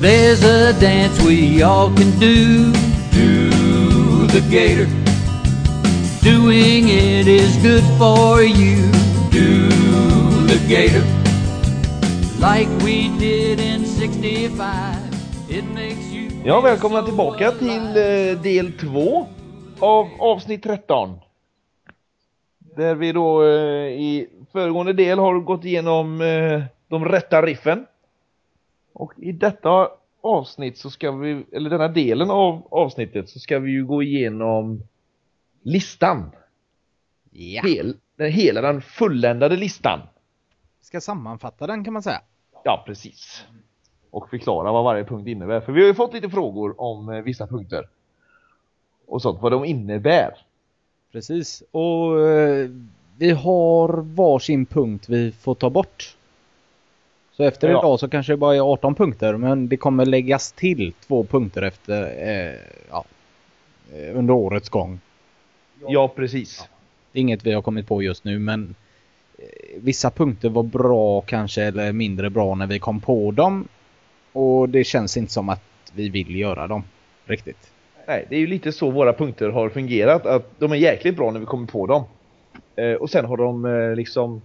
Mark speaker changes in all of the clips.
Speaker 1: There's a dance we all can do. Do the gator. Doing it is good for you. Do the gator. Like we did in 65. It makes you
Speaker 2: Ja, välkomna tillbaka till eh, del 2 av avsnitt 13. Där vi då eh, i föregående del har gått igenom eh, de rätta riffen. Och i detta avsnitt så ska vi, eller denna delen av avsnittet så ska vi ju gå igenom listan.
Speaker 3: Ja,
Speaker 2: Hel, den, hela den fulländade listan.
Speaker 3: ska sammanfatta den kan man säga.
Speaker 2: Ja, precis. Och förklara vad varje punkt innebär. För vi har ju fått lite frågor om eh, vissa punkter. Och sånt, vad de innebär.
Speaker 3: Precis, och eh, vi har varsin punkt vi får ta bort. Så efter
Speaker 2: Ja.
Speaker 3: idag så kanske det bara är 18 punkter, men det kommer läggas till två punkter efter, eh, ja, eh, under årets gång.
Speaker 2: Ja, precis.
Speaker 3: Det är inget vi har kommit på just nu, men eh, vissa punkter var bra kanske, eller mindre bra när vi kom på dem. Och det känns inte som att vi vill göra dem, riktigt.
Speaker 2: Nej, det är ju lite så våra punkter har fungerat. Att de är jäkligt bra när vi kommer på dem. Eh, och sen har de eh, liksom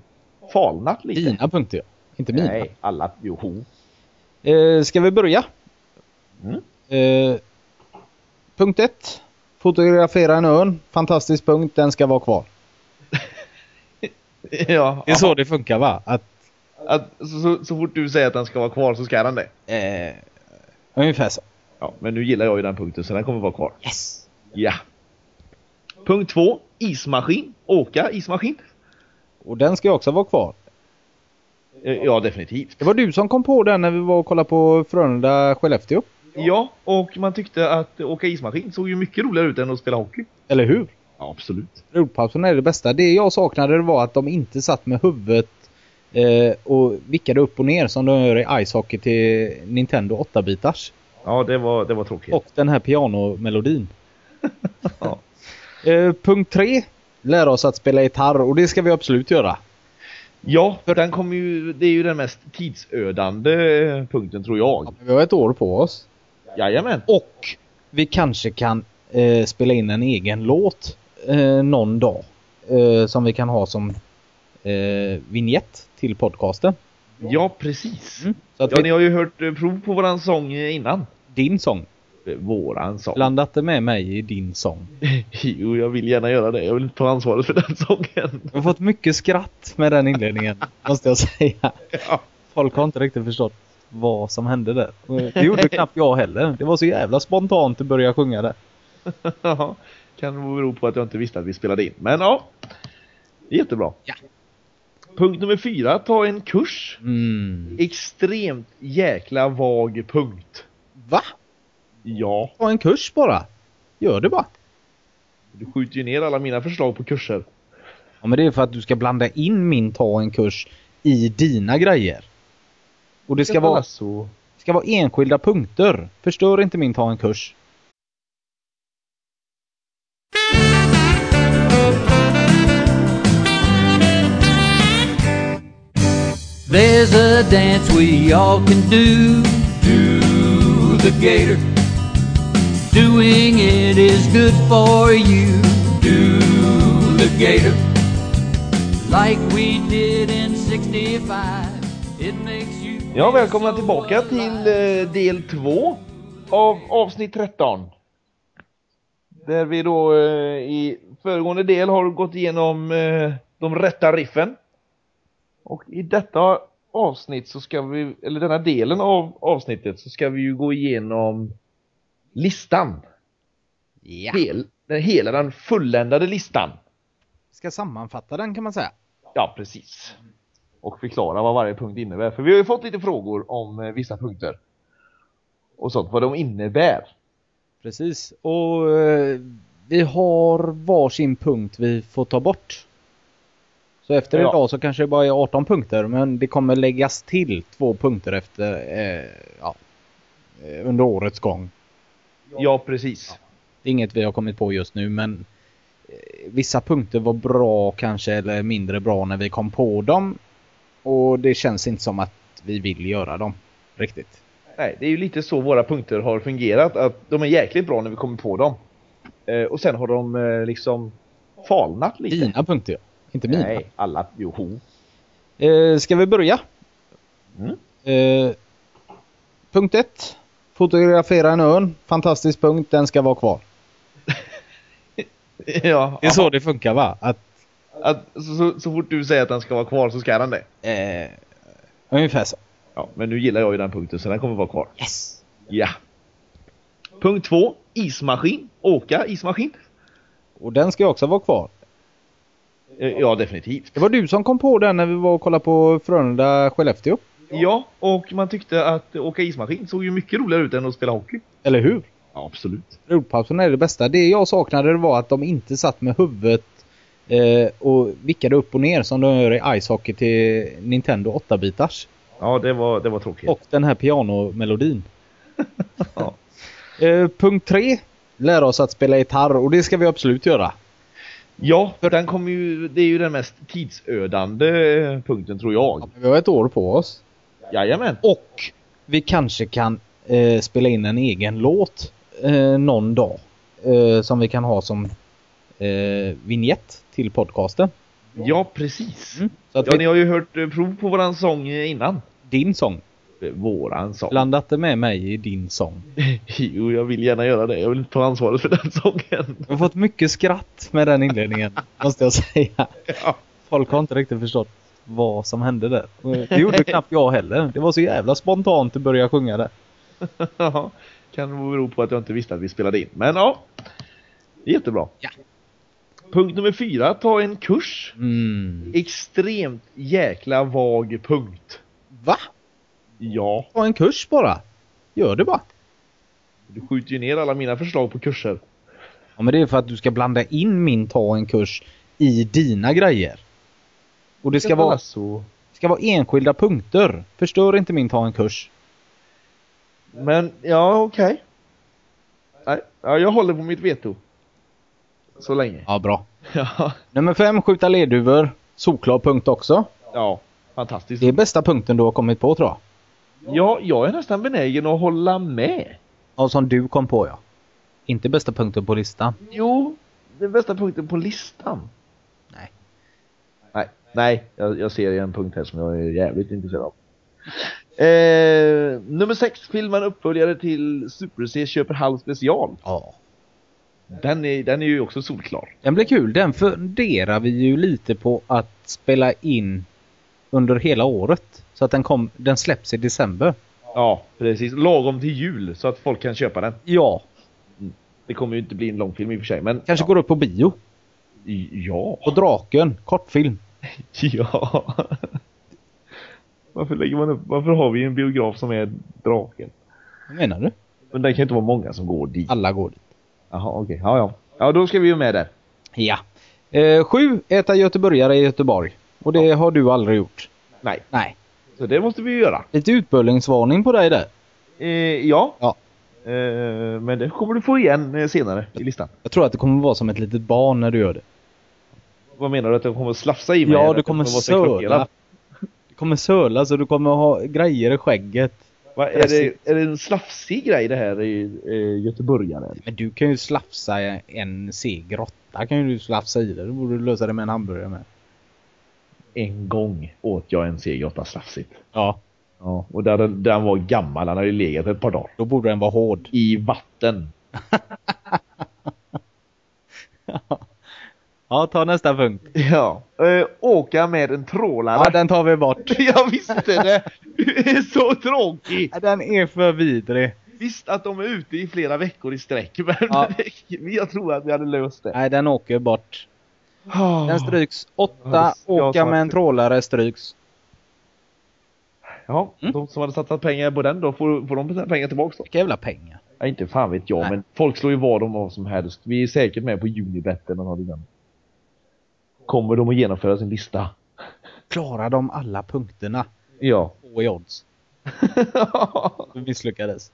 Speaker 2: falnat lite.
Speaker 3: Dina punkter, ja. Inte mina.
Speaker 2: Nej, alla. Joho.
Speaker 3: Eh, ska vi börja?
Speaker 2: Mm.
Speaker 3: Eh, punkt 1. Fotografera en örn. Fantastisk punkt, den ska vara kvar.
Speaker 2: ja,
Speaker 3: Det är så det funkar va? Att,
Speaker 2: att, så, så, så fort du säger att den ska vara kvar så ska den det.
Speaker 3: eh, ungefär så.
Speaker 2: Ja, men nu gillar jag ju den punkten så den kommer vara kvar.
Speaker 3: Yes!
Speaker 2: Ja. Punkt två. Ismaskin. Åka ismaskin.
Speaker 3: Och den ska också vara kvar.
Speaker 2: Eh, Ja, definitivt.
Speaker 3: Det var du som kom på den när vi var och kollade på Frölunda-Skellefteå.
Speaker 2: Ja, och man tyckte att åka ismaskin såg ju mycket roligare ut än att spela hockey.
Speaker 3: Eller hur?
Speaker 2: Ja, absolut.
Speaker 3: Rodpausen är det bästa. Det jag saknade det var att de inte satt med huvudet eh, och vickade upp och ner som de gör i Ice Hockey till Nintendo 8-bitars.
Speaker 2: Ja, det var, det var tråkigt.
Speaker 3: Och den här pianomelodin.
Speaker 2: Ja.
Speaker 3: Eh, punkt tre. Lära oss att spela gitarr och det ska vi absolut göra.
Speaker 2: Ja, för den kommer ju, det är ju den mest tidsödande eh, punkten tror jag.
Speaker 3: Vi har ett år på oss.
Speaker 2: Jajamän.
Speaker 3: Och vi kanske kan eh, spela in en egen låt eh, någon dag. Eh, som vi kan ha som eh, vignett till podcasten.
Speaker 2: Ja, precis.
Speaker 3: Så att
Speaker 2: Ja,
Speaker 3: vi,
Speaker 2: ni har ju hört eh, prov på våran sång eh, innan.
Speaker 3: din sång.
Speaker 2: Eh, Våran sång.
Speaker 3: Blanda inte med mig i din sång.
Speaker 2: Jo, jag vill gärna göra det. Jag vill inte ta ansvaret för den sången.
Speaker 3: Jag har fått mycket skratt med den inledningen. måste jag säga.
Speaker 2: Ja.
Speaker 3: Folk har inte riktigt förstått vad som hände där. Det gjorde knappt jag heller. Det var så jävla spontant att börja sjunga där.
Speaker 2: Ja, kan nog bero på att jag inte visste att vi spelade in. Men ja, jättebra.
Speaker 3: Ja.
Speaker 2: Punkt nummer fyra, ta en kurs.
Speaker 3: Mm.
Speaker 2: Extremt jäkla vag punkt.
Speaker 3: Va?
Speaker 2: Ja,
Speaker 3: Ta en kurs bara. Gör det bara.
Speaker 2: du skjuter ju ner alla mina förslag på kurser.
Speaker 3: Ja, men det är för att du ska blanda in min ta en kurs i dina grejer. Och det ska vara,
Speaker 2: så.
Speaker 3: ska vara enskilda punkter. Förstör inte min ta en kurs.
Speaker 1: There's a dance we all can do. Do the gator. Doing it is good for you. Do the gator. Like we did in 65. It makes you.
Speaker 2: Ja, välkomna tillbaka till eh, del 2 av avsnitt 13. Där vi då eh, i föregående del har gått igenom eh, de rätta riffen. Och i detta avsnitt så ska vi, eller denna delen av avsnittet så ska vi ju gå igenom listan.
Speaker 3: Ja.
Speaker 2: Hel, den, hela den fulländade listan.
Speaker 3: Ska sammanfatta den kan man säga.
Speaker 2: Ja, precis. Och förklara vad varje punkt innebär. För vi har ju fått lite frågor om eh, vissa punkter. Och sånt, vad de innebär.
Speaker 3: Precis, och eh, vi har varsin punkt vi får ta bort. Så efter
Speaker 2: Ja.
Speaker 3: idag så kanske det bara är 18 punkter, men det kommer läggas till två punkter efter, eh, ja, eh, under årets gång.
Speaker 2: Ja, precis.
Speaker 3: Det är inget vi har kommit på just nu, men eh, vissa punkter var bra kanske, eller mindre bra när vi kom på dem. Och det känns inte som att vi vill göra dem, riktigt.
Speaker 2: Nej, det är ju lite så våra punkter har fungerat. Att de är jäkligt bra när vi kommer på dem. Eh, och sen har de eh, liksom falnat lite.
Speaker 3: Dina punkter, ja. Inte mina.
Speaker 2: Nej, alla. Joho.
Speaker 3: Eh, ska vi börja?
Speaker 2: Mm.
Speaker 3: Eh, punkt 1. Fotografera en örn. Fantastisk punkt, den ska vara kvar.
Speaker 2: ja,
Speaker 3: Det är så det funkar va? Att,
Speaker 2: Att, så, så, så fort du säger att den ska vara kvar så ska den det.
Speaker 3: eh, ungefär så.
Speaker 2: Ja, men nu gillar jag ju den punkten så den kommer vara kvar.
Speaker 3: Yes!
Speaker 2: Ja. Punkt två. Ismaskin. Åka ismaskin.
Speaker 3: Och den ska också vara kvar.
Speaker 2: Eh, Ja, definitivt.
Speaker 3: Det var du som kom på den när vi var och kollade på Frölunda-Skellefteå.
Speaker 2: Ja, och man tyckte att åka ismaskin såg ju mycket roligare ut än att spela hockey.
Speaker 3: Eller hur?
Speaker 2: Ja, absolut.
Speaker 3: Rodpausen är det bästa. Det jag saknade var att de inte satt med huvudet eh, och vickade upp och ner som de gör i Ice Hockey till Nintendo 8-bitars.
Speaker 2: Ja, det var, det var tråkigt.
Speaker 3: Och den här pianomelodin.
Speaker 2: Ja.
Speaker 3: Eh, punkt 3. Lära oss att spela gitarr och det ska vi absolut göra.
Speaker 2: Ja, för den kommer ju, det är ju den mest tidsödande eh, punkten tror jag.
Speaker 3: Vi har ett år på oss.
Speaker 2: Jajamän.
Speaker 3: Och vi kanske kan eh, spela in en egen låt eh, någon dag. Eh, som vi kan ha som eh, vignett till podcasten.
Speaker 2: Ja, precis.
Speaker 3: Så att
Speaker 2: Ja,
Speaker 3: vi,
Speaker 2: ni har ju hört eh, prov på våran sång eh, innan.
Speaker 3: din sång.
Speaker 2: Eh, Våran sång.
Speaker 3: Blandat det med mig i din sång.
Speaker 2: Jo, jag vill gärna göra det. Jag vill inte ta ansvaret för den sången.
Speaker 3: Jag har fått mycket skratt med den inledningen, måste jag säga.
Speaker 2: Ja.
Speaker 3: Folk har inte riktigt förstått vad som hände där. Och Det gjorde knappt jag heller. Det var så jävla spontant att börja sjunga där.
Speaker 2: Ja, kan nog bero på att jag inte visste att vi spelade in. Men ja, jättebra.
Speaker 3: Ja.
Speaker 2: Punkt nummer fyra, ta en kurs.
Speaker 3: Mm.
Speaker 2: Extremt jäkla vag punkt.
Speaker 3: Va?
Speaker 2: Ja,
Speaker 3: Ta en kurs bara. Gör det bara.
Speaker 2: du skjuter ju ner alla mina förslag på kurser.
Speaker 3: Ja, men det är för att du ska blanda in min ta en kurs i dina grejer. Och det ska vara,
Speaker 2: så.
Speaker 3: ska vara enskilda punkter. Förstör inte min ta en kurs.
Speaker 2: Men ja, okej. Nej, Ja, jag håller på mitt veto. Så länge.
Speaker 3: Ja, bra.
Speaker 2: Ja,
Speaker 3: Nummer fem, skjuta leduvor. Solklar punkt också.
Speaker 2: ja fantastiskt.
Speaker 3: Det är bästa punkten du har kommit på tror jag.
Speaker 2: Ja, jag är nästan benägen att hålla med.
Speaker 3: Ja, som du kom på ja. Inte bästa punkten på listan.
Speaker 2: Jo, den bästa punkten på listan.
Speaker 3: Nej.
Speaker 2: Nej, nej jag, jag ser en punkt här som jag är jävligt intresserad av. Eh, nummer 6, filmen uppföljare till Super C Köpenhamn special.
Speaker 3: Ja.
Speaker 2: Den är, den är ju också solklar.
Speaker 3: Den blir kul. Den funderar vi ju lite på att spela in under hela året. Så att den, kom, den släpps i december.
Speaker 2: Ja, precis. Lagom till jul så att folk kan köpa den.
Speaker 3: Ja.
Speaker 2: Det kommer ju inte bli en lång film i och för sig, men...
Speaker 3: Kanske går upp på bio.
Speaker 2: Ja.
Speaker 3: På Draken. Kortfilm.
Speaker 2: Ja. Varför, lägger man upp, varför har vi en biograf som är draken?
Speaker 3: Vad menar du?
Speaker 2: Men det kan ju inte vara många som går dit.
Speaker 3: Alla går dit.
Speaker 2: Jaha, okej. Ja, ja. Ja, då ska vi ju med där.
Speaker 3: Ja. Eh, sju. Äta göteborgare i Göteborg. Och det har du aldrig gjort.
Speaker 2: Nej,
Speaker 3: Nej.
Speaker 2: så det måste vi ju göra.
Speaker 3: Lite utbölingsvarning på dig där.
Speaker 2: Eh, ja.
Speaker 3: Ja.
Speaker 2: Eh, men det kommer du få igen eh, senare i listan.
Speaker 3: Jag tror att det kommer vara som ett litet barn när du gör det.
Speaker 2: Vad menar du? Att jag kommer att slafsa i mig? Eller
Speaker 3: Ja,
Speaker 2: att
Speaker 3: du
Speaker 2: jag
Speaker 3: kommer
Speaker 2: vara sexuell?
Speaker 3: söla. Du kommer söla så du kommer ha grejer i skägget.
Speaker 2: Va, är, det, är det en slafsig grej det här i eh, göteborgare?
Speaker 3: Men du kan ju slafsa en seg råtta kan ju du slafsa i dig. Då borde du lösa det med en hamburgare med.
Speaker 2: En gång åt jag en C8 slafsigt.
Speaker 3: Ja.
Speaker 2: Ja, och där, den var gammal. Den hade ju legat ett par dagar.
Speaker 3: Då borde den vara hård.
Speaker 2: I vatten.
Speaker 3: Ja, ta nästa punkt.
Speaker 2: Ja. Eh, åka med en trålare.
Speaker 3: Ja, den tar vi bort.
Speaker 2: Jag visste det! Du är så tråkig!
Speaker 3: Den är för vidrig.
Speaker 2: Visst att de är ute i flera veckor i sträck, men
Speaker 3: Ja.
Speaker 2: jag tror att vi hade löst det.
Speaker 3: Nej, den åker bort. Den stryks.
Speaker 2: Ja,
Speaker 3: Åtta,
Speaker 2: jag
Speaker 3: åka
Speaker 2: tar-
Speaker 3: med en trålare stryks.
Speaker 2: Ja,
Speaker 3: Mm.
Speaker 2: de som hade satsat pengar på den då, får, får de sina pengar tillbaka då?
Speaker 3: Vilka jävla pengar.
Speaker 2: Ja, inte fan vet jag,
Speaker 3: Nej.
Speaker 2: men folk slår ju vad om vad som helst. Vi är säkert med på Unibet eller något liknande. Kommer de att genomföra sin lista?
Speaker 3: Klarar de alla punkterna?
Speaker 2: Ja.
Speaker 3: Två i odds. Vi misslyckades.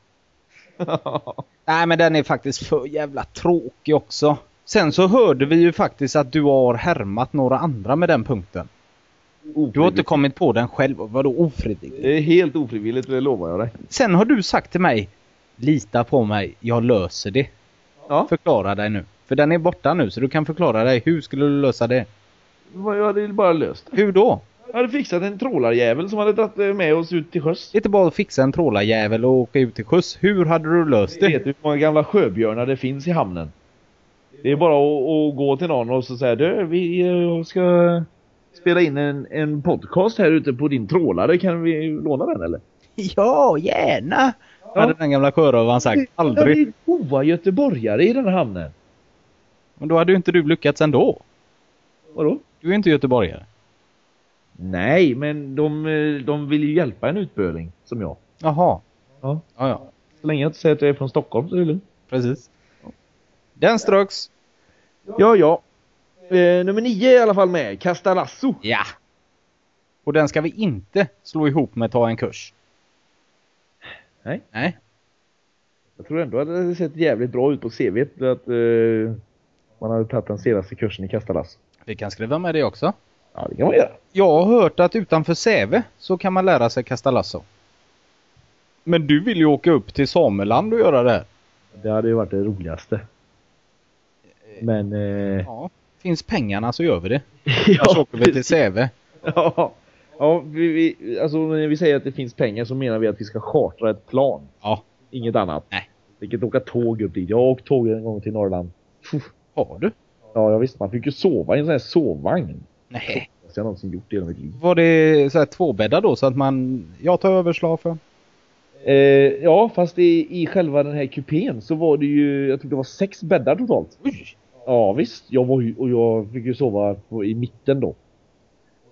Speaker 3: Nej, men den är faktiskt för jävla tråkig också. Sen så hörde vi ju faktiskt att du har härmat några andra med den punkten.
Speaker 2: Ofrivilligt.
Speaker 3: Du har inte kommit på den själv. Vadå ofrivilligt?
Speaker 2: Det är helt ofrivilligt, det lovar jag dig.
Speaker 3: Sen har du sagt till mig Lita på mig, jag löser det.
Speaker 2: Ja,
Speaker 3: Förklara dig nu. För den är borta nu så du kan förklara dig. Hur skulle du lösa det?
Speaker 2: vad- jag hade bara löst det.
Speaker 3: Hur då?
Speaker 2: Jag hade fixat en trålarjävel som hade tagit eh, med oss ut till sjöss.
Speaker 3: Det är inte bara att fixa en trålarjävel och åka ut till sjöss. Hur hade du löst
Speaker 2: Du
Speaker 3: det?
Speaker 2: vet hur många gamla sjöbjörnar det finns i hamnen. Det är bara att, att gå till någon och så säga du, vi eh, ska spela in en, en podcast här ute på din trålare, kan vi låna den eller?
Speaker 3: Ja, gärna! Hade den gamla sjörövaren sagt.
Speaker 2: Ja,
Speaker 3: Aldrig.
Speaker 2: Det är goa göteborgare i den här hamnen.
Speaker 3: Men då hade ju inte du lyckats ändå.
Speaker 2: Vadå?
Speaker 3: Du är inte göteborgare.
Speaker 2: Nej, men de, eh, de vill ju hjälpa en utböling, som jag.
Speaker 3: Jaha.
Speaker 2: Ja.
Speaker 3: Ja, ja.
Speaker 2: Så länge jag inte säger att jag är från Stockholm så är det lugnt.
Speaker 3: Precis. Den ströks.
Speaker 2: Ja, ja. Eh, nummer nio är i alla fall med, Kasta Lasso.
Speaker 3: Ja. Och den ska vi inte slå ihop med ta en kurs.
Speaker 2: Nej.
Speaker 3: Nej.
Speaker 2: Jag tror ändå att det hade sett jävligt bra ut på CVt att eh, man hade tagit den senaste kursen i kastalass.
Speaker 3: Vi kan skriva med det också.
Speaker 2: Ja, det kan man göra.
Speaker 3: Jag har hört att utanför Säve så kan man lära sig kasta lasso. Men du vill ju åka upp till Sameland och göra det. här.
Speaker 2: Det hade ju varit det roligaste. Men... Eh,
Speaker 3: Ja. Finns pengarna så gör vi det. Annars
Speaker 2: ja,
Speaker 3: åker vi till Säve.
Speaker 2: ja, ja vi, vi, alltså när vi säger att det finns pengar så menar vi att vi ska chartra ett plan.
Speaker 3: Ja.
Speaker 2: Inget annat.
Speaker 3: Nej.
Speaker 2: Vilket åka tåg upp dit. Jag har åkt tåg en gång till Norrland. Puff.
Speaker 3: Har du?
Speaker 2: Ja, jag visste man fick ju sova i en sån här sovvagn.
Speaker 3: Nej.
Speaker 2: Jag har någonsin gjort det i hela mitt liv.
Speaker 3: Var det så här tvåbäddar då så att man... Jag tar över slafen.
Speaker 2: Eh, ja, fast i, i själva den här kupén så var det ju, jag tror det var sex bäddar totalt.
Speaker 3: Oj.
Speaker 2: Ja visst, jag var ju, och jag fick ju sova på, i mitten då.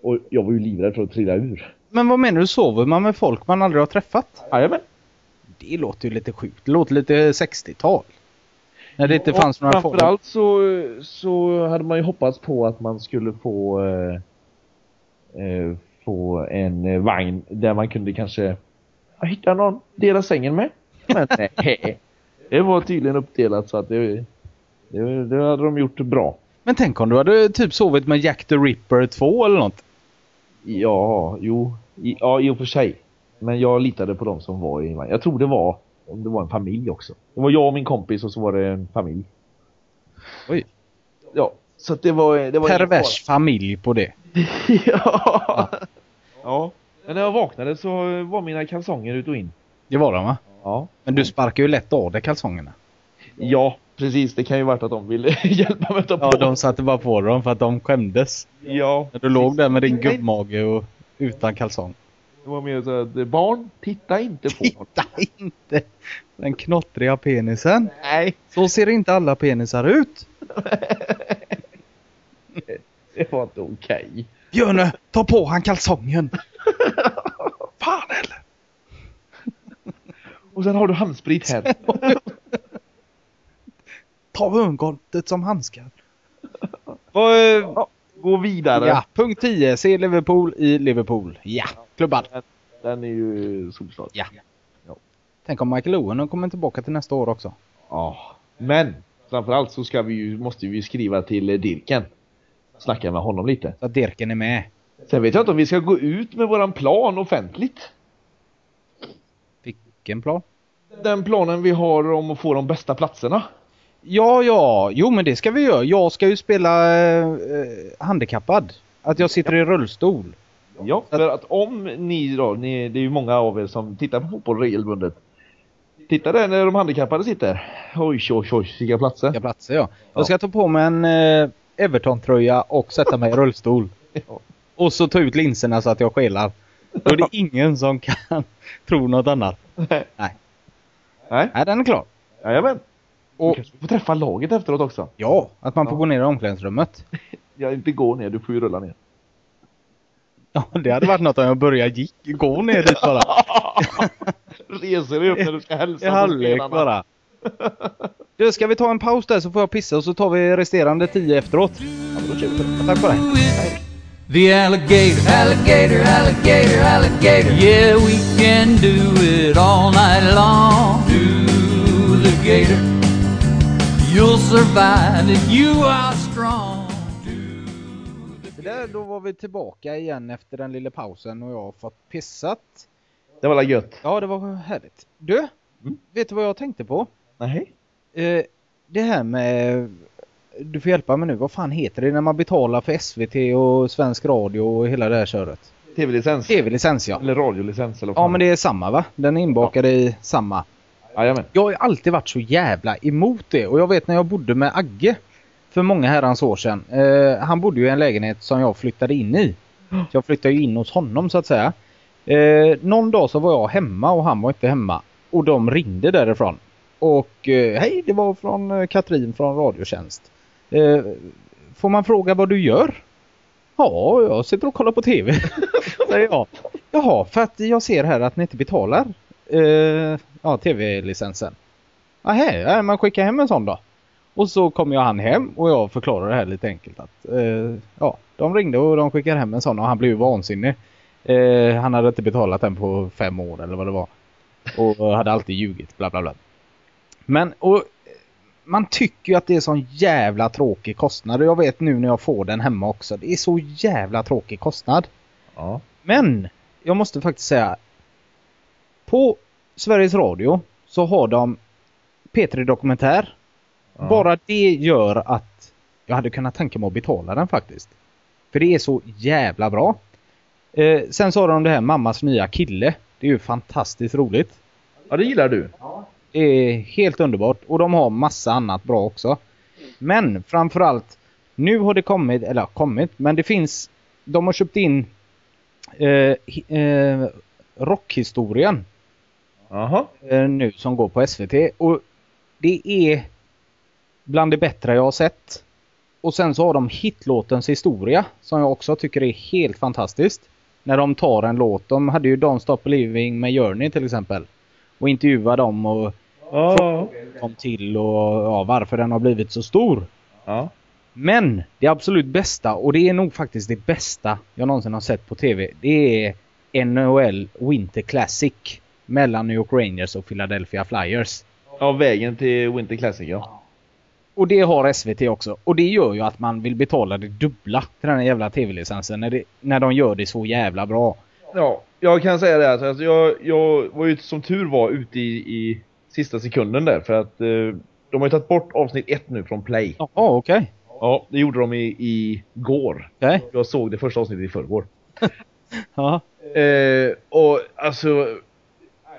Speaker 2: Och jag var ju livrädd för att trilla ur.
Speaker 3: Men vad menar du? Sover man med folk man aldrig har träffat?
Speaker 2: Jajamän.
Speaker 3: Det låter ju lite sjukt. Det låter lite 60-tal. När det inte
Speaker 2: Och
Speaker 3: fanns några folk.
Speaker 2: Framförallt så, så hade man ju hoppats på att man skulle få eh, eh, få en eh, vagn där man kunde kanske ja, hitta någon dela sängen med. Men nej, det var tydligen uppdelat så att det, det, det hade de gjort bra.
Speaker 3: Men tänk om du hade typ sovit med Jack the Ripper 2 eller något.
Speaker 2: Ja, jo. I, ja, i och för sig. Men jag litade på de som var i vagnen. Jag tror det var, om det var en familj också. Det var jag och min kompis och så var det en familj.
Speaker 3: Oj.
Speaker 2: Ja, så att det var... Det var
Speaker 3: Pervers familj på det.
Speaker 2: ja. ja. Men när jag vaknade så var mina kalsonger ut och in.
Speaker 3: Det var de va?
Speaker 2: Ja.
Speaker 3: Men du sparkar ju lätt av dig kalsongerna.
Speaker 2: Ja, precis. Det kan ju varit att de ville hjälpa mig att ta på.
Speaker 3: Ja, de satte bara på dem för att de skämdes.
Speaker 2: ja.
Speaker 3: När du låg där med din
Speaker 2: Nej.
Speaker 3: gubbmage och utan kalsong.
Speaker 2: Det var mer så att barn, titta inte på honom.
Speaker 3: Titta inte! Den knottriga penisen.
Speaker 2: Nej,
Speaker 3: Så ser inte alla penisar ut.
Speaker 2: det var inte okej.
Speaker 3: Björne, ta på han kalsongen!
Speaker 2: Fan eller? Och sen har du handsprit här.
Speaker 3: Ta örngottet som handskar.
Speaker 2: eh, Gå vidare.
Speaker 3: Ja, punkt 10. Se Liverpool i Liverpool. Ja, klubbad.
Speaker 2: Den är ju solklar.
Speaker 3: Ja.
Speaker 2: Ja.
Speaker 3: Tänk om Michael Owen och kommer tillbaka till nästa år också.
Speaker 2: Ja. Men framförallt så ska vi ju, måste vi ju skriva till eh, Dirken. Snacka med honom lite.
Speaker 3: Så att Dirken är med.
Speaker 2: Sen vet jag inte om vi ska gå ut med våran plan offentligt.
Speaker 3: Vilken plan?
Speaker 2: Den planen vi har om att få de bästa platserna.
Speaker 3: Ja, ja. Jo, men det ska vi göra. Jag ska ju spela eh, eh, handikappad. Att jag sitter i rullstol.
Speaker 2: Ja, för att om ni då, ni, det är ju många av er som tittar på fotboll regelbundet. Titta där när de handikappade sitter. Oj, oj, oj, vilka platser.
Speaker 3: Vilka platser, ja. Jag ska ta på mig en eh, Everton-tröja och sätta mig i rullstol.
Speaker 2: Ja.
Speaker 3: Och så ta ut linserna så att jag skelar. Då är det ingen som kan tro något annat. Nej.
Speaker 2: Nej,
Speaker 3: Nej, den är klar.
Speaker 2: jajamän.
Speaker 3: Och
Speaker 2: Du kanske får träffa laget efteråt också.
Speaker 3: ja, att man får
Speaker 2: Ja.
Speaker 3: gå ner i omklädningsrummet.
Speaker 2: Ja, inte gå ner, du får ju rulla ner.
Speaker 3: Ja, det hade varit något om jag började gick, gå ner dit bara.
Speaker 2: Reser dig upp när du ska hälsa
Speaker 3: I halvlek bara. Du, ska vi ta en paus där så får jag pissa och så tar vi resterande 10 efteråt. Tack för det.
Speaker 1: with the alligator, alligator, alligator, alligator. Yeah, we can do it all night long. Do the gator. You'll survive if you are strong. Do the
Speaker 3: Där då var vi tillbaka igen efter den lilla pausen och jag har fått pissat.
Speaker 2: Det var la gött?
Speaker 3: Ja, det var härligt. Du,
Speaker 2: Mm.
Speaker 3: vet du vad jag tänkte på?
Speaker 2: Nej.
Speaker 3: Eh, det här med... Du får hjälpa mig nu. Vad fan heter det när man betalar för SVT och svensk radio och hela det här köret?
Speaker 2: TV-licens?
Speaker 3: TV-licens ja.
Speaker 2: Eller radiolicens eller vad
Speaker 3: Ja
Speaker 2: fan.
Speaker 3: men det är samma va? Den är inbakad i samma.
Speaker 2: Jajamän.
Speaker 3: Jag har ju alltid varit så jävla emot det och jag vet när jag bodde med Agge för många herrans år sedan. Eh, han bodde ju i en lägenhet som jag flyttade in i. Så jag flyttade ju in hos honom så att säga. Eh, någon dag så var jag hemma och han var inte hemma. Och de ringde därifrån. Och eh, hej, det var från eh, Katrin från Radiotjänst. Eh, får man fråga vad du gör? Ja, jag sitter och kollar på TV. säger jag. Jaha, för att jag ser här att ni inte betalar eh, ja, tv-licensen. Nähä, ja, man skickar hem en sån då. Och så kommer jag han hem och jag förklarar det här lite enkelt att eh, ja, de ringde och de skickade hem en sån och han blev ju vansinnig. Eh, han hade inte betalat den på fem år eller vad det var. Och hade alltid ljugit, bla bla bla. Men och, eh, man tycker ju att det är sån jävla tråkig kostnad och jag vet nu när jag får den hemma också. Det är så jävla tråkig kostnad.
Speaker 2: Ja.
Speaker 3: Men jag måste faktiskt säga. På Sveriges Radio så har de P3 Dokumentär.
Speaker 2: Ja.
Speaker 3: Bara det gör att jag hade kunnat tänka mig att betala den faktiskt. För det är så jävla bra. Eh, sen sa de det här Mammas nya kille. Det är ju fantastiskt roligt.
Speaker 2: ja, det gillar du.
Speaker 3: Det är helt underbart och de har massa annat bra också. Men framförallt, nu har det kommit, eller kommit, men det finns, de har köpt in eh, hi- eh, rockhistorien
Speaker 2: Jaha.
Speaker 3: eh, nu som går på SVT och det är bland det bättre jag har sett. Och sen så har de hitlåtens historia som jag också tycker är helt fantastiskt. När de tar en låt, de hade ju Don't Stop Believing med Journey till exempel. Och intervjuar dem och
Speaker 2: Ja.
Speaker 3: kom till och ja, varför den har blivit så stor.
Speaker 2: Ja.
Speaker 3: Men det absolut bästa, och det är nog faktiskt det bästa jag någonsin har sett på TV, det är NHL Winter Classic mellan New York Rangers och Philadelphia Flyers.
Speaker 2: Ja, vägen till Winter Classic ja.
Speaker 3: Och det har SVT också. Och det gör ju att man vill betala det dubbla till den här jävla TV-licensen när, det, när de gör det så jävla bra.
Speaker 2: Ja, jag kan säga det här. Alltså, jag, jag var ju som tur var ute i, i sista sekunden där för att eh, de har ju tagit bort avsnitt 1 nu från Play.
Speaker 3: Ja, okej.
Speaker 2: Ja, det gjorde de i, i går.
Speaker 3: Okej.
Speaker 2: Jag såg det första avsnittet i förrgår.
Speaker 3: Ja.
Speaker 2: Eh, och alltså...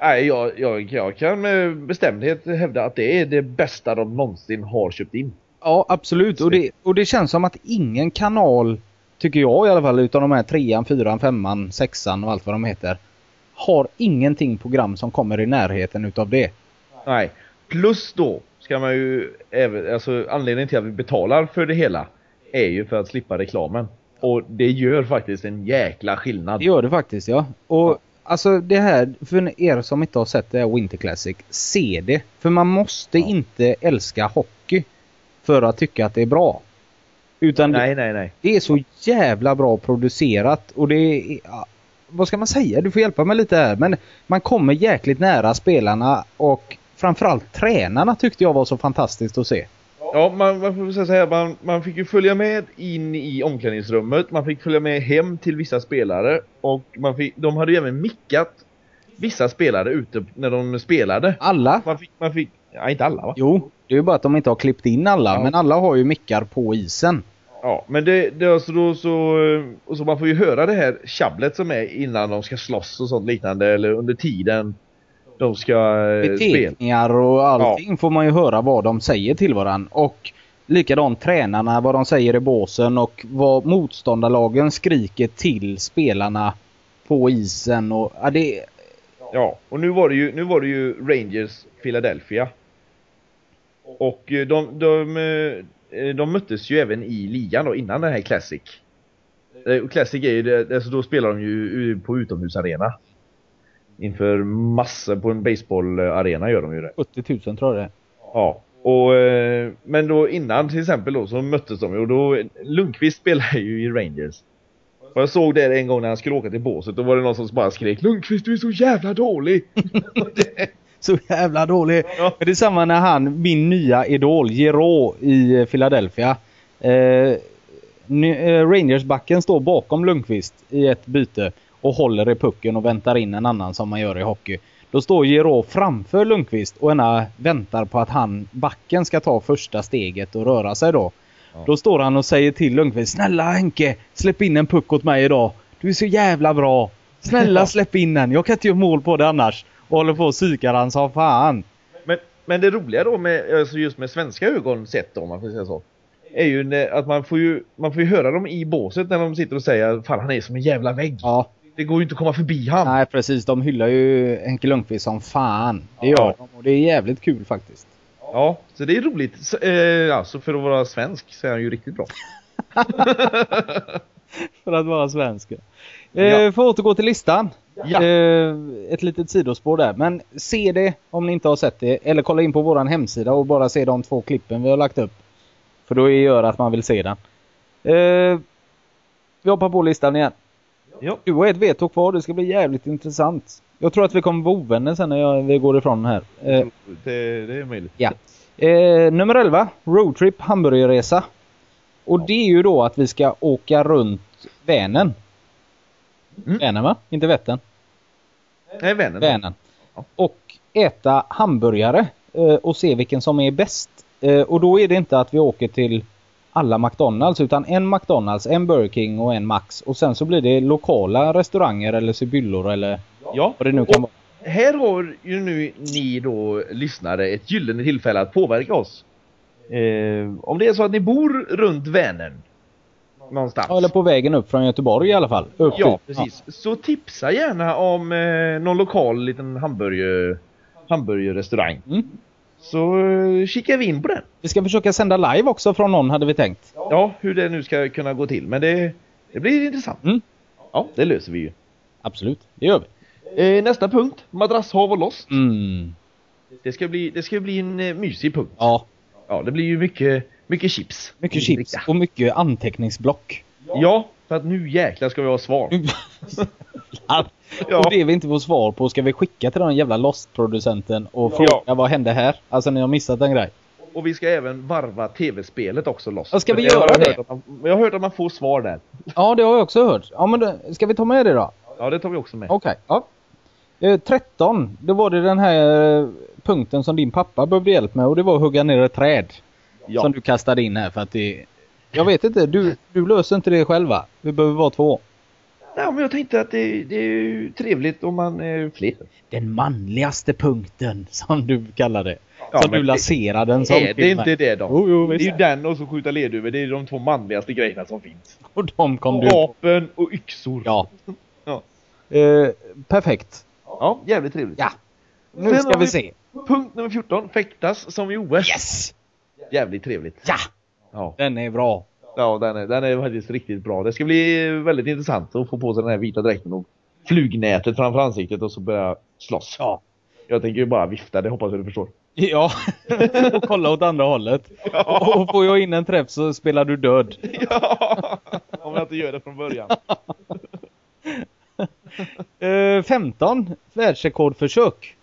Speaker 2: Nej, jag, jag, jag kan med bestämdhet hävda att det är det bästa de någonsin har köpt in.
Speaker 3: Ja, absolut. Och det, och det känns som att ingen kanal, tycker jag i alla fall, utan de här trean, fyran, femman, sexan och allt vad de heter, har ingenting program som kommer i närheten utav det.
Speaker 2: Nej. Plus då ska man ju även, alltså anledningen till att vi betalar för det hela är ju för att slippa reklamen. Och det gör faktiskt en jäkla skillnad.
Speaker 3: Det gör det faktiskt, ja. Och alltså det här, för er som inte har sett det här Winter Classic, se det. För man måste inte älska hockey för att tycka att det är bra. Utan det-
Speaker 2: Nej, nej, nej.
Speaker 3: Det är så jävla bra producerat och det är... ja, Vad ska man säga? Du får hjälpa mig lite här. Men man kommer jäkligt nära spelarna och framförallt tränarna tyckte jag var så fantastiskt att se.
Speaker 2: Ja, man, man får säga så här, man, man fick ju följa med in i omklädningsrummet, man fick följa med hem till vissa spelare och man fick, de hade ju även mickat vissa spelare ute när de spelade.
Speaker 3: Alla?
Speaker 2: Man fick, man fick, ja inte alla va?
Speaker 3: Jo, det är ju bara att de inte har klippt in alla.
Speaker 2: Ja.
Speaker 3: Men alla har ju mickar på isen.
Speaker 2: Ja, men det, det är alltså då så, eh, och så man får ju höra det här tjabblet som är innan de ska slåss och sånt liknande eller under tiden de ska eh, spela.
Speaker 3: Beteckningar och allting får man ju höra vad de säger till varandra. Och likadant tränarna, vad de säger i båsen och vad motståndarlagen skriker till spelarna på isen. Och, ja, det,
Speaker 2: Ja, och nu var det ju, nu var det ju Rangers Philadelphia. Och eh, de, de, eh, de möttes ju även i ligan då innan den här Classic. Eh, och Classic är ju, det- alltså då spelar de ju u- på utomhusarena. Inför massor, på en baseballarena gör de ju det.
Speaker 3: 70 000 tror jag det är.
Speaker 2: Ja. Och, eh, men då innan till exempel då så möttes de ju och då Lundqvist spelar ju i Rangers. Och jag såg det en gång när han skulle åka till båset, då var det någon som bara skrek Lundqvist du är så jävla dålig!
Speaker 3: Så jävla dålig.
Speaker 2: Ja.
Speaker 3: Men Det är samma när han, min nya idol, Gero i Philadelphia. Eh, Ny- eh, Rangersbacken står bakom Lundqvist i ett byte och håller i pucken och väntar in en annan som man gör i hockey. Då står Giroud framför Lundqvist och ena väntar på att han, backen, ska ta första steget och röra sig då. Då står han och säger till Lundqvist Snälla Henke, släpp in en puck åt mig idag. Du är så jävla bra. Snälla släpp in den. Jag kan inte göra mål på det annars. Och håller på och psykar han som fan.
Speaker 2: Men, men det roliga då med, alltså just med svenska ögon sett då, om man får säga så. Är ju när, att man får ju, man får ju höra dem i båset när de sitter och säger Fan han är som en jävla vägg.
Speaker 3: Ja,
Speaker 2: Det går ju inte att komma förbi han.
Speaker 3: nej precis. De hyllar ju Henke Lundqvist som fan. Det gör
Speaker 2: Ja.
Speaker 3: de och det är jävligt kul faktiskt.
Speaker 2: Ja, så det är roligt. Så, eh, alltså för att vara svensk så är han ju riktigt bra.
Speaker 3: För att vara svensk. Eh,
Speaker 2: Ja.
Speaker 3: För att återgå till listan.
Speaker 2: Ja.
Speaker 3: Eh, ett litet sidospår där. Men se det om ni inte har sett det. Eller kolla in på våran hemsida och bara se de två klippen vi har lagt upp. För då gör det att man vill se den. Eh, vi hoppar på listan igen.
Speaker 2: Ja.
Speaker 3: Du har ett veto kvar. Det ska bli jävligt intressant. Jag tror att vi kommer vara ovänner sen när jag, vi går ifrån här. Eh,
Speaker 2: Det, det är möjligt.
Speaker 3: Ja. Eh, nummer 11, roadtrip hamburgerresa. Och det är ju då att vi ska åka runt Vänern.
Speaker 2: Mm.
Speaker 3: Vänern va? Inte Vättern.
Speaker 2: Nej, vännen.
Speaker 3: Vänern.
Speaker 2: Ja.
Speaker 3: Och äta hamburgare eh, och se vilken som är bäst. Eh, och då är det inte att vi åker till alla McDonalds utan en McDonalds, en Burger King och en Max. Och sen så blir det lokala restauranger eller sibyllor eller
Speaker 2: Ja.
Speaker 3: vad det nu kan vara.
Speaker 2: Här har ju nu ni då lyssnare ett gyllene tillfälle att påverka oss. Eh, om det är så att ni bor runt Vänern någonstans.
Speaker 3: Ja, Eller på vägen upp från Göteborg i alla fall. Upp
Speaker 2: Ja,
Speaker 3: dit.
Speaker 2: precis. Så tipsa gärna om eh, någon lokal liten hamburger, hamburgerrestaurang.
Speaker 3: Ja. Mm.
Speaker 2: Så eh, kikar vi in på den.
Speaker 3: Vi ska försöka sända live också från någon hade vi tänkt.
Speaker 2: Ja, hur det nu ska kunna gå till. Men det, det blir intressant.
Speaker 3: Mm.
Speaker 2: Ja, det löser vi ju.
Speaker 3: Absolut, det gör vi.
Speaker 2: Eh, nästa punkt, madrasshav och loss.
Speaker 3: Mm.
Speaker 2: Det ska bli, det ska bli en eh, mysig punkt.
Speaker 3: Ja,
Speaker 2: Ja, Mm. det blir ju mycket, mycket chips.
Speaker 3: mycket chips och mycket anteckningsblock.
Speaker 2: Ja, för att nu jäklar ska vi ha svar. Ja.
Speaker 3: Och det vi inte får svar på ska vi skicka till den jävla Lost-producenten och
Speaker 2: Ja.
Speaker 3: fråga vad hände här? Alltså ni har missat en grej.
Speaker 2: Och vi ska även varva tv-spelet också loss.
Speaker 3: Ja, ska vi
Speaker 2: Jag har
Speaker 3: göra det?
Speaker 2: hört att man- Jag har hört att man får svar där.
Speaker 3: Ja, det har jag också hört. Ja, men då, ska vi ta med det då?
Speaker 2: Ja, det tar vi också med.
Speaker 3: Okej. ja. Eh, 13, då var det den här eh, punkten som din pappa behövde hjälp med och det var att hugga ner ett träd.
Speaker 2: Ja.
Speaker 3: Som du kastade in här för att det... Jag vet inte, du, du löser inte det själva. Vi behöver vara två.
Speaker 2: Nej, men jag tänkte att det, det är ju trevligt om man är fler.
Speaker 3: den manligaste punkten som du kallar det.
Speaker 2: Ja,
Speaker 3: som
Speaker 2: men det-
Speaker 3: du lanserar den som.
Speaker 2: Är det
Speaker 3: till mig.
Speaker 2: inte det då?
Speaker 3: Jo, jo,
Speaker 2: det är
Speaker 3: visst.
Speaker 2: ju den och så skjuta leduvor, det är ju de två manligaste grejerna som finns.
Speaker 3: Och de kom
Speaker 2: Och
Speaker 3: du på.
Speaker 2: vapen och yxor.
Speaker 3: Ja.
Speaker 2: Ja.
Speaker 3: Eh, perfekt.
Speaker 2: Ja, jävligt trevligt.
Speaker 3: Ja. Nu
Speaker 2: Sen
Speaker 3: ska
Speaker 2: har
Speaker 3: vi
Speaker 2: vi-
Speaker 3: se.
Speaker 2: Punkt nummer 14, fäktas som i OS.
Speaker 3: Yes!
Speaker 2: Jävligt trevligt.
Speaker 3: Ja!
Speaker 2: Ja,
Speaker 3: Den är bra.
Speaker 2: ja den, är, den är faktiskt riktigt bra. Det ska bli väldigt intressant att få på sig den här vita dräkten och flugnätet framför ansiktet och så börja slåss.
Speaker 3: Ja.
Speaker 2: Jag tänker ju bara vifta, det hoppas jag du förstår.
Speaker 3: Ja, och kolla åt andra hållet. Och- Och får jag in en träff så spelar du död.
Speaker 2: Ja! Om jag inte gör det från början.
Speaker 3: Eh, 15. Världsrekordförsök.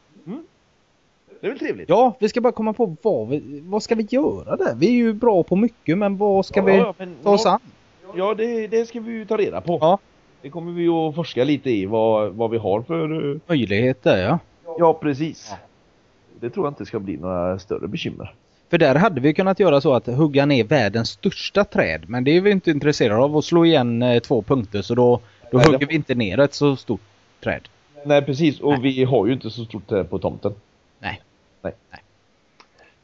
Speaker 2: Det är väl trevligt?
Speaker 3: Ja, vi ska bara komma på vad, vi, vad ska vi göra där? Vi är ju bra på mycket, men vad ska
Speaker 2: Ja,
Speaker 3: vi
Speaker 2: ja, men
Speaker 3: ta oss
Speaker 2: vad-
Speaker 3: an?
Speaker 2: Ja, det, det ska vi ju ta reda på.
Speaker 3: Ja.
Speaker 2: Det kommer vi att forska lite i, vad, vad vi har för... eh,
Speaker 3: Möjligheter, ja.
Speaker 2: Ja, precis. Det tror jag inte ska bli några större bekymmer.
Speaker 3: För där hade vi kunnat göra så att hugga ner världens största träd. Men det är vi inte intresserade av att slå igen eh, två punkter så då, då
Speaker 2: Nej, det-
Speaker 3: hugger vi inte ner ett så stort träd.
Speaker 2: Nej, precis. Och vi har ju inte så stort träd på tomten.
Speaker 3: Nej.
Speaker 2: Nej.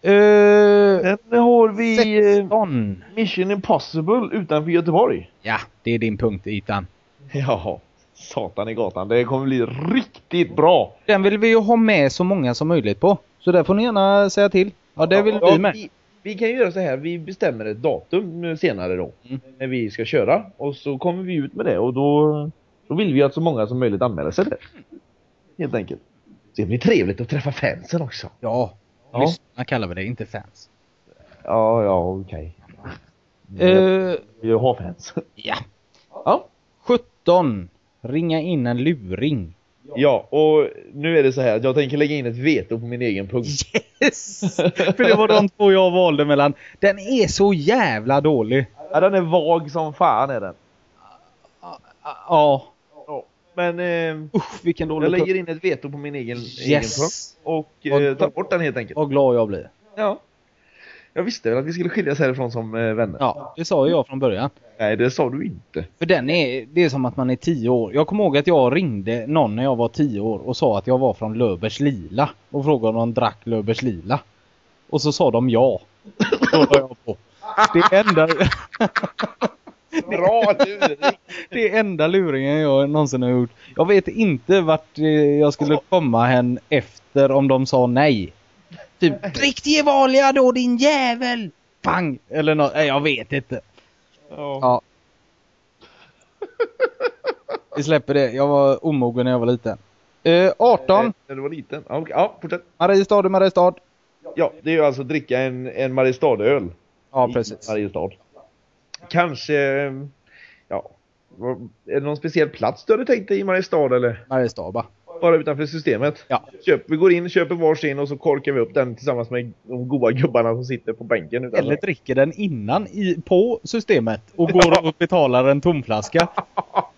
Speaker 3: Eh,
Speaker 2: Sen har vi eh,
Speaker 3: 16.
Speaker 2: Mission Impossible utanför Göteborg.
Speaker 3: Ja, det är din punkt Itan.
Speaker 2: Ja, satan i gatan. Det kommer bli riktigt bra.
Speaker 3: Den vill vi ju ha med så många som möjligt på. Så där får ni gärna säga till. Ja, det vill
Speaker 2: Ja,
Speaker 3: vi med.
Speaker 2: Vi, vi kan ju göra så här, vi bestämmer ett datum senare då.
Speaker 3: Mm.
Speaker 2: När vi ska köra. Och så kommer vi ut med det och då, då vill vi att så många som möjligt anmäler sig där. Helt enkelt. Det blir trevligt att träffa fansen också.
Speaker 3: Ja,
Speaker 2: Ja.
Speaker 3: lyssna kallar vi det, inte fans.
Speaker 2: Ja, ja, okej.
Speaker 3: Eh,
Speaker 2: Vi har fans.
Speaker 3: ja.
Speaker 2: Ja.
Speaker 3: 17. Ringa in en luring.
Speaker 2: ja, och nu är det så här att jag tänker lägga in ett veto på min egen punkt.
Speaker 3: Yes! För det var de två jag valde mellan. Den är så jävla dålig.
Speaker 2: Ja, den är vag som fan är den.
Speaker 3: Ja.
Speaker 2: Ja. Men eh,
Speaker 3: Usch vilken dålig
Speaker 2: jag lägger
Speaker 3: punkt.
Speaker 2: in ett veto på min egen, egen punkt
Speaker 3: Yes!
Speaker 2: och
Speaker 3: Vad-
Speaker 2: eh, tar bort den helt enkelt.
Speaker 3: Vad glad jag blir.
Speaker 2: Ja. Jag visste väl att vi skulle skiljas härifrån som eh, vänner.
Speaker 3: Ja, det sa ju jag från början.
Speaker 2: Nej, det sa du inte.
Speaker 3: För den är, det är som att man är tio år. Jag kommer ihåg att jag ringde någon när jag var tio år och sa att jag var från Löbers Lila och frågade om de drack Löbers Lila. Och så sa de ja. Då var jag på. Det är enda,
Speaker 2: Bra du!
Speaker 3: det är enda luringen jag någonsin har gjort. Jag vet inte vart eh, jag skulle komma hen efter om de sa nej. Typ, drick Gevalia då din jävel! Pang! Eller något, nej jag vet inte.
Speaker 2: Ja.
Speaker 3: Ja. Vi släpper det. Jag var omogen när jag var liten. Eh, 18.
Speaker 2: När du var liten. Ja, okej. ja fortsätt.
Speaker 3: Mariestad är Mariestad.
Speaker 2: Ja, det är ju alltså att dricka en, en Mariestadöl.
Speaker 3: Ja,
Speaker 2: i
Speaker 3: precis.
Speaker 2: Mariestad. Kanske, eh, ja. vad- Är det någon speciell plats du hade tänkt dig i Mariestad eller?
Speaker 3: Mariestad, va?
Speaker 2: Bara utanför systemet?
Speaker 3: Ja.
Speaker 2: Köp, vi går in, köper varsin och så korkar vi upp den tillsammans med de goa gubbarna som sitter på bänken utanför.
Speaker 3: Eller dricker den innan i, på systemet och går och betalar en tomflaska.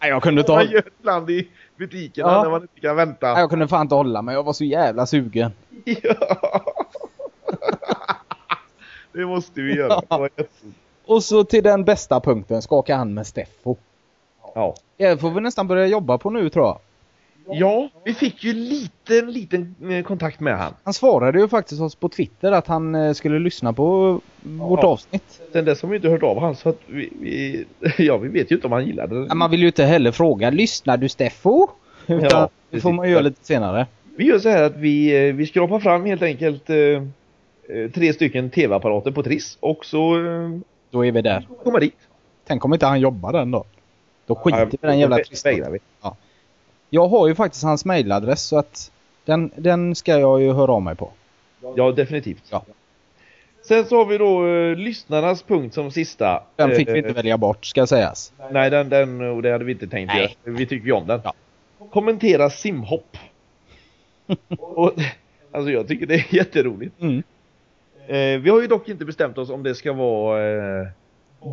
Speaker 3: Nej, jag kunde inte
Speaker 2: Man
Speaker 3: hålla,
Speaker 2: gör ibland i butikerna
Speaker 3: Ja.
Speaker 2: när man inte kan
Speaker 3: nej,
Speaker 2: vänta.
Speaker 3: jag kunde fan inte hålla mig. Jag var så jävla sugen.
Speaker 2: Ja. det måste vi göra. Det var jätte-
Speaker 3: Och så till den bästa punkten, skaka hand med Steffo.
Speaker 2: Ja.
Speaker 3: Det får vi nästan börja jobba på nu tror jag.
Speaker 2: ja, vi fick ju lite, liten eh, kontakt med han.
Speaker 3: Han svarade ju faktiskt oss på Twitter att han eh, skulle lyssna på mm, vårt
Speaker 2: Ja.
Speaker 3: avsnitt.
Speaker 2: Sen dess har vi inte hört av han så att vi, vi, ja, vi vet ju inte om han gillade det.
Speaker 3: Ja, Man vill ju inte heller fråga ”Lyssnar du Steffo?” Utan
Speaker 2: Ja,
Speaker 3: det
Speaker 2: precis.
Speaker 3: får man göra lite senare.
Speaker 2: Vi gör så här att vi, eh, vi skrapar fram helt enkelt eh, eh, tre stycken tv-apparater på Triss och så eh,
Speaker 3: Då är vi där.
Speaker 2: kommer dit.
Speaker 3: Tänk om inte han jobbar den då. Då skiter vi i den jävla
Speaker 2: Då vä-
Speaker 3: tristen.
Speaker 2: vägrar vi.
Speaker 3: Jag har ju faktiskt hans mailadress så att den, den ska jag ju höra av mig på.
Speaker 2: Ja, definitivt.
Speaker 3: Ja.
Speaker 2: Sen så har vi då eh, lyssnarnas punkt som sista.
Speaker 3: Den fick
Speaker 2: Eh,
Speaker 3: vi inte välja bort ska sägas.
Speaker 2: Nej, den, den, och det hade vi inte tänkt
Speaker 3: Nej.
Speaker 2: göra. Vi tycker ju om den.
Speaker 3: Ja.
Speaker 2: Kommentera simhopp. och, alltså jag tycker det är jätteroligt.
Speaker 3: Mm.
Speaker 2: Eh, vi har ju dock inte bestämt oss om det ska vara eh,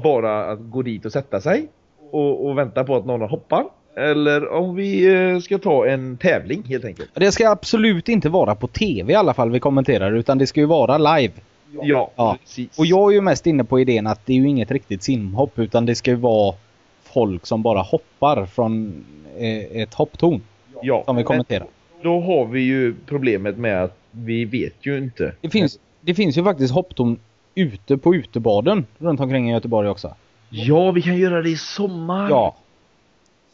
Speaker 2: bara att gå dit och sätta sig och, och vänta på att någon hoppar. Eller om vi eh, ska ta en tävling helt enkelt.
Speaker 3: Det ska absolut inte vara på tv i alla fall vi kommenterar utan det ska ju vara live.
Speaker 2: Ja,
Speaker 3: Ja.
Speaker 2: precis.
Speaker 3: Och jag är ju mest inne på idén att det är ju inget riktigt simhopp utan det ska ju vara folk som bara hoppar från eh, ett hopptorn
Speaker 2: ja.
Speaker 3: som vi kommenterar.
Speaker 2: Men Då har vi ju problemet med att vi vet ju inte.
Speaker 3: Det finns, det finns ju faktiskt hopptorn ute på utebaden runt omkring i Göteborg också.
Speaker 2: Ja, vi kan göra det i sommar.
Speaker 3: Ja,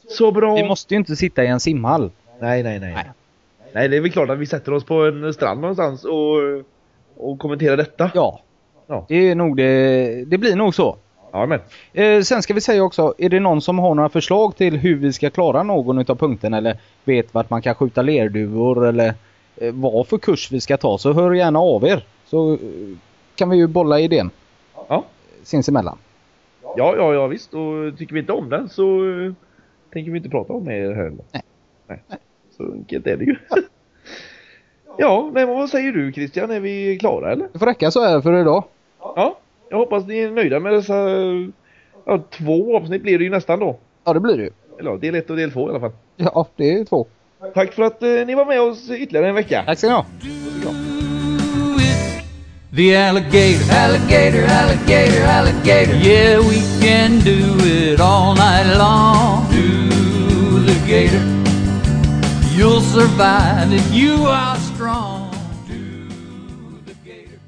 Speaker 2: Så bra.
Speaker 3: vi måste ju inte sitta i en simhall.
Speaker 2: Nej, nej, nej.
Speaker 3: Nej.
Speaker 2: Nej, det är väl klart att vi sätter oss på en strand någonstans och, och kommenterar detta.
Speaker 3: Ja.
Speaker 2: Ja.
Speaker 3: Det, är nog det, det blir nog så.
Speaker 2: Ja, men.
Speaker 3: Eh, sen ska vi säga också, är det någon som har några förslag till hur vi ska klara någon utav punkterna eller vet vart man kan skjuta lerduvor eller eh, vad för kurs vi ska ta så hör gärna av er. Så eh, kan vi ju bolla idén
Speaker 2: Ja.
Speaker 3: sinsemellan.
Speaker 2: Ja, ja, ja visst. Och tycker vi inte om den så eh, tänker vi inte prata om er heller.
Speaker 3: Nej.
Speaker 2: nej. Så enkelt är det ju. ja, nej, men vad säger du Christian? Är vi klara eller?
Speaker 3: Det får räcka så här för idag.
Speaker 2: Ja. Jag hoppas ni är nöjda med dessa... eh, Ja, två avsnitt blir det ju nästan då.
Speaker 3: Ja det blir det ju.
Speaker 2: Eller ja, del ett och del två i alla fall.
Speaker 3: Ja, det är två.
Speaker 2: Tack för att eh, ni var med oss ytterligare en vecka.
Speaker 3: Tack ska ni ha.
Speaker 1: it. The alligator, alligator, alligator, alligator. Yeah, we can do it all night long. Do the gator. You'll survive if you are strong.